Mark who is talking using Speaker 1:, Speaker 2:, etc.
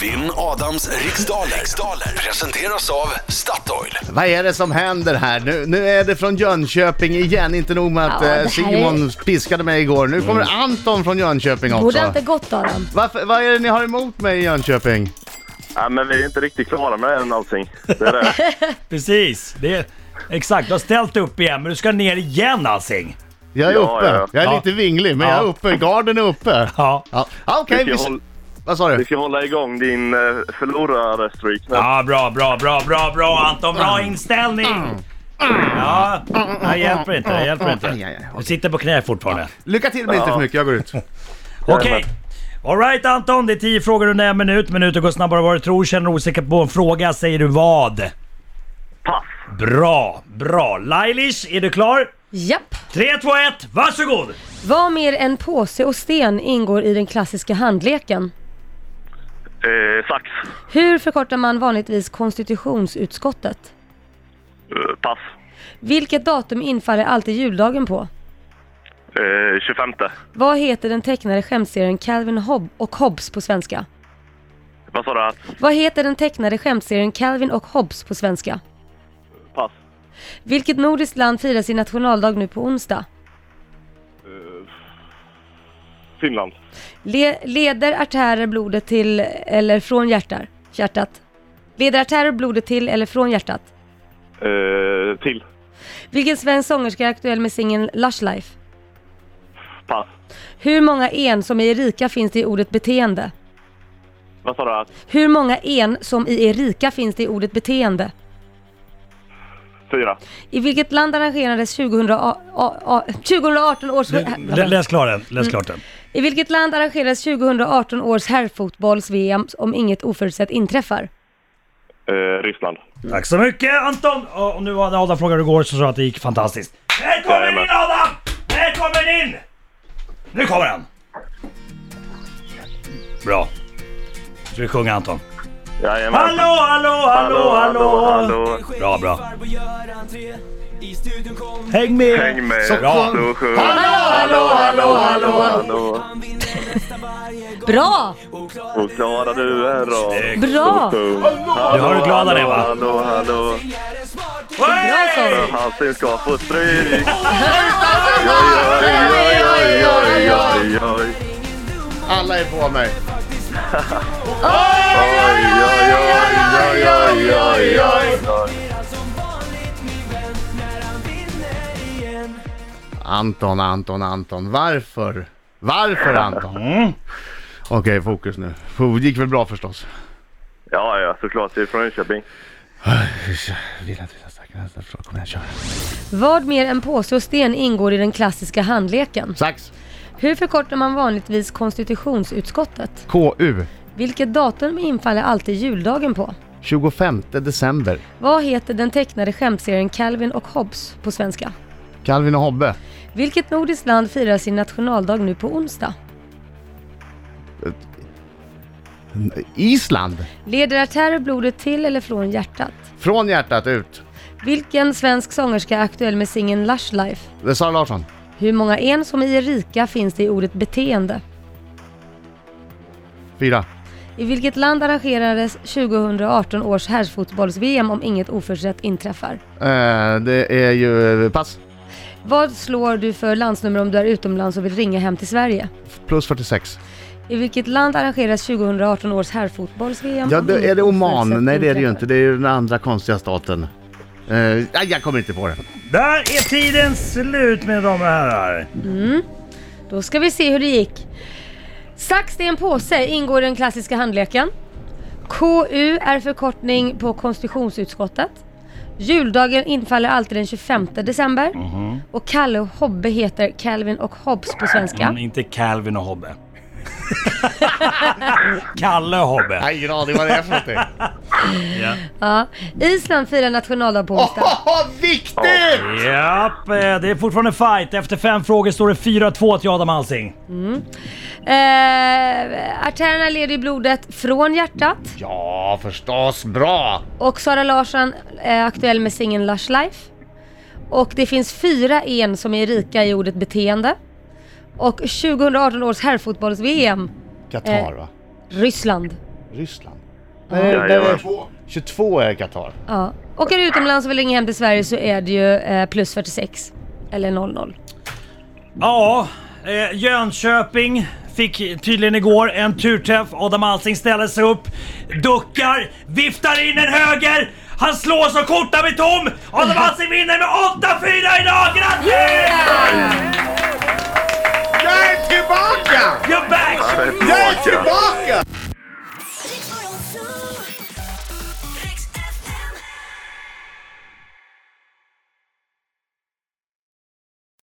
Speaker 1: Vinn Adams riksdaler. riksdaler presenteras av Statoil.
Speaker 2: Vad är det som händer här? Nu, nu är det från Jönköping igen. Inte nog med att
Speaker 3: Ja, det här
Speaker 2: eh,
Speaker 3: är- Mm.
Speaker 2: Simon piskade mig igår. Nu kommer Anton från Jönköping också.
Speaker 3: Borde jag inte gått Adam?
Speaker 2: Varför, vad är det ni har emot mig i Jönköping?
Speaker 4: Nej, men vi är inte riktigt klara med än allting. Det är det.
Speaker 5: Precis. Det är, exakt, du har ställt upp igen men du ska ner igen Alsing.
Speaker 2: Jag är
Speaker 4: Ja,
Speaker 2: uppe.
Speaker 4: ja, ja.
Speaker 2: Jag är
Speaker 5: Ja.
Speaker 2: lite vinglig, men jag är
Speaker 5: Ja.
Speaker 2: uppe. Garden är uppe.
Speaker 5: Ja.
Speaker 2: Ja, ja okej.
Speaker 4: Vi ska,
Speaker 2: vi s-
Speaker 4: hålla,
Speaker 2: Vad sa
Speaker 4: vi
Speaker 2: du?
Speaker 4: ska hålla igång din eh, förlorarstreak nu.
Speaker 5: Ja, bra, bra, bra, bra, bra Anton. Bra inställning. Ja, det hjälper inte. Det hjälper
Speaker 2: Aj, aj, aj,
Speaker 5: inte.
Speaker 2: okej.
Speaker 5: Du sitter på knä fortfarande.
Speaker 2: Lycka till men inte för mycket. Jag går ut.
Speaker 5: Okej. Alright Anton, det är tio frågor under en minut. Minuter går snabbare än vad du tror. Känner du osäker på en fråga säger du vad?
Speaker 4: Pass!
Speaker 5: Bra, bra. Lailish, är du klar?
Speaker 3: Japp!
Speaker 5: 3, 2, 1, varsågod!
Speaker 3: Vad mer än påse och sten ingår i den klassiska handleken?
Speaker 4: Eh, sax.
Speaker 3: Hur förkortar man vanligtvis konstitutionsutskottet?
Speaker 4: Eh, pass.
Speaker 3: Vilket datum infaller alltid juldagen på?
Speaker 4: Eh, 25.
Speaker 3: Vad heter den tecknade skämtserien Calvin Hobb och Hobbes på svenska?
Speaker 4: Vad sa du? att-
Speaker 3: Vad heter den tecknade skämtserien Calvin och Hobbes på svenska?
Speaker 4: Pass.
Speaker 3: Vilket nordiskt land firar sin nationaldag nu på onsdag?
Speaker 4: Eh, Finland.
Speaker 3: Le- leder artärer blodet till eller från hjärtat? hjärtat? Leder artärer blodet till eller från hjärtat?
Speaker 4: Eh, till.
Speaker 3: Vilken svensk sångerska är aktuell med singeln Lush Life?
Speaker 4: Pass.
Speaker 3: Hur många en som i Erika finns det i ordet beteende?
Speaker 4: Vad sa du? att-
Speaker 3: Hur många en som i Erika finns det i ordet beteende?
Speaker 4: Fyra.
Speaker 3: I vilket land arrangerades 2000, a- a- a- 2018 års...
Speaker 5: Lä- Läs klart den. Läs klart den.
Speaker 3: I vilket land arrangerades 2018 års herrfotbolls-VM om inget oförutsett inträffar?
Speaker 4: Eh, Ryssland.
Speaker 5: Tack så mycket Anton! Och och nu hade Adam frågat hur det går så sa jag att det gick fantastiskt. Här kommer
Speaker 4: Jajamän.
Speaker 5: in Adam! Här kommer in! Nu kommer han! Bra. Ska vi sjunga Anton?
Speaker 4: Jajamän.
Speaker 5: Hallå, hallå, hallå, hallå! Bra, bra. Häng med!
Speaker 4: Häng med.
Speaker 2: Så
Speaker 5: bra.
Speaker 4: Så sjung.
Speaker 3: Hallå, hallå, hallå!
Speaker 4: Hallå.
Speaker 3: Bra!
Speaker 4: Och klarar du en rad.
Speaker 3: Bra!
Speaker 5: Du hör hur glada ni är, va?
Speaker 4: Hallå, hallå.
Speaker 3: Bra sång!
Speaker 4: Halsen ska få stryk. Oj, oj, oj, oj, oj, oj.
Speaker 2: Alla är på mig.
Speaker 4: Oj, oj, oj, oj, oj, oj, oj.
Speaker 2: Anton, Anton, Anton. Varför? Varför Anton? Okej, fokus nu. Puh, Det gick väl bra förstås?
Speaker 4: Ja, ja, såklart. Det är från Jönköping.
Speaker 2: Vila, vila, starka vänster. Kom igen, kör.
Speaker 3: Vad mer än påse och sten ingår i den klassiska handleken?
Speaker 2: Sax.
Speaker 3: Hur förkortar man vanligtvis konstitutionsutskottet?
Speaker 2: KU.
Speaker 3: Vilket datum infaller alltid juldagen på?
Speaker 2: 25 december.
Speaker 3: Vad heter den tecknade skämtserien Calvin och Hobbes på svenska?
Speaker 2: Calvin och Hobbe.
Speaker 3: Vilket nordiskt land firar sin nationaldag nu på onsdag?
Speaker 2: Island.
Speaker 3: Leder artärer blodet till eller från hjärtat?
Speaker 2: Från hjärtat ut.
Speaker 3: Vilken svensk sångerska är aktuell med singeln Lush Life?
Speaker 2: Det är Sara Larsson.
Speaker 3: Hur många en som i Erika finns det i ordet beteende?
Speaker 2: Fyra.
Speaker 3: I vilket land arrangerades 2018 års herrfotbolls-VM om inget oförutsett inträffar?
Speaker 2: Eh, det är ju eh, pass.
Speaker 3: Vad slår du för landsnummer om du är utomlands och vill ringa hem till Sverige?
Speaker 2: Plus 46.
Speaker 3: I vilket land arrangeras 2018 års herrfotbolls-VM?
Speaker 2: Ja, det, är det Oman?
Speaker 3: Oförutsett
Speaker 2: Nej, det är det ju inte.
Speaker 3: inträffar.
Speaker 2: Det är ju den andra konstiga staten. Eh, nej, jag kommer inte på det.
Speaker 5: Där är tiden slut med de här.
Speaker 3: Då ska vi se hur det gick. Sax, sten, påse ingår i den klassiska handleken. KU är förkortning på konstitutionsutskottet. Juldagen infaller alltid den 25 december. Och Kalle och Hobbe heter Calvin och Hobbes på svenska.
Speaker 5: Mm, inte Calvin och Hobbe. Kalle och Hobbe.
Speaker 2: Nej, ingen aning vad det är för någonting.
Speaker 3: Ja. Island firar nationaldag på onsdag.
Speaker 2: Haha, viktigt!
Speaker 5: Japp, eh, det är fortfarande fight. Efter fem frågor står det 4-2 till Adam Alsing.
Speaker 3: Eh, artärerna leder ju blodet från hjärtat
Speaker 2: Ja, förstås. Bra!
Speaker 3: och Sara Larsson är aktuell med singeln Lush Life. Och det finns fyra en som är rika i ordet beteende. Och 2018 års herrfotbolls-VM,
Speaker 2: Qatar, va?
Speaker 3: Ryssland.
Speaker 2: Ryssland? Nej, nej,
Speaker 4: Jajamän.
Speaker 2: 22 är Qatar.
Speaker 3: Ja. Åker du utomlands och vill ringa hem till Sverige så är det ju eh, plus 46. Eller 00.
Speaker 5: Ja, eh, Jönköping fick tydligen igår en turträff. Adam Alsing ställer sig upp, duckar, viftar in en höger. Han slår så korta blir tom! Adam Alsing vinner med 8-4 idag! Grattis!
Speaker 2: Jag är tillbaka!
Speaker 5: You're back!
Speaker 4: Jag är tillbaka!
Speaker 6: Riks Morgonzoo.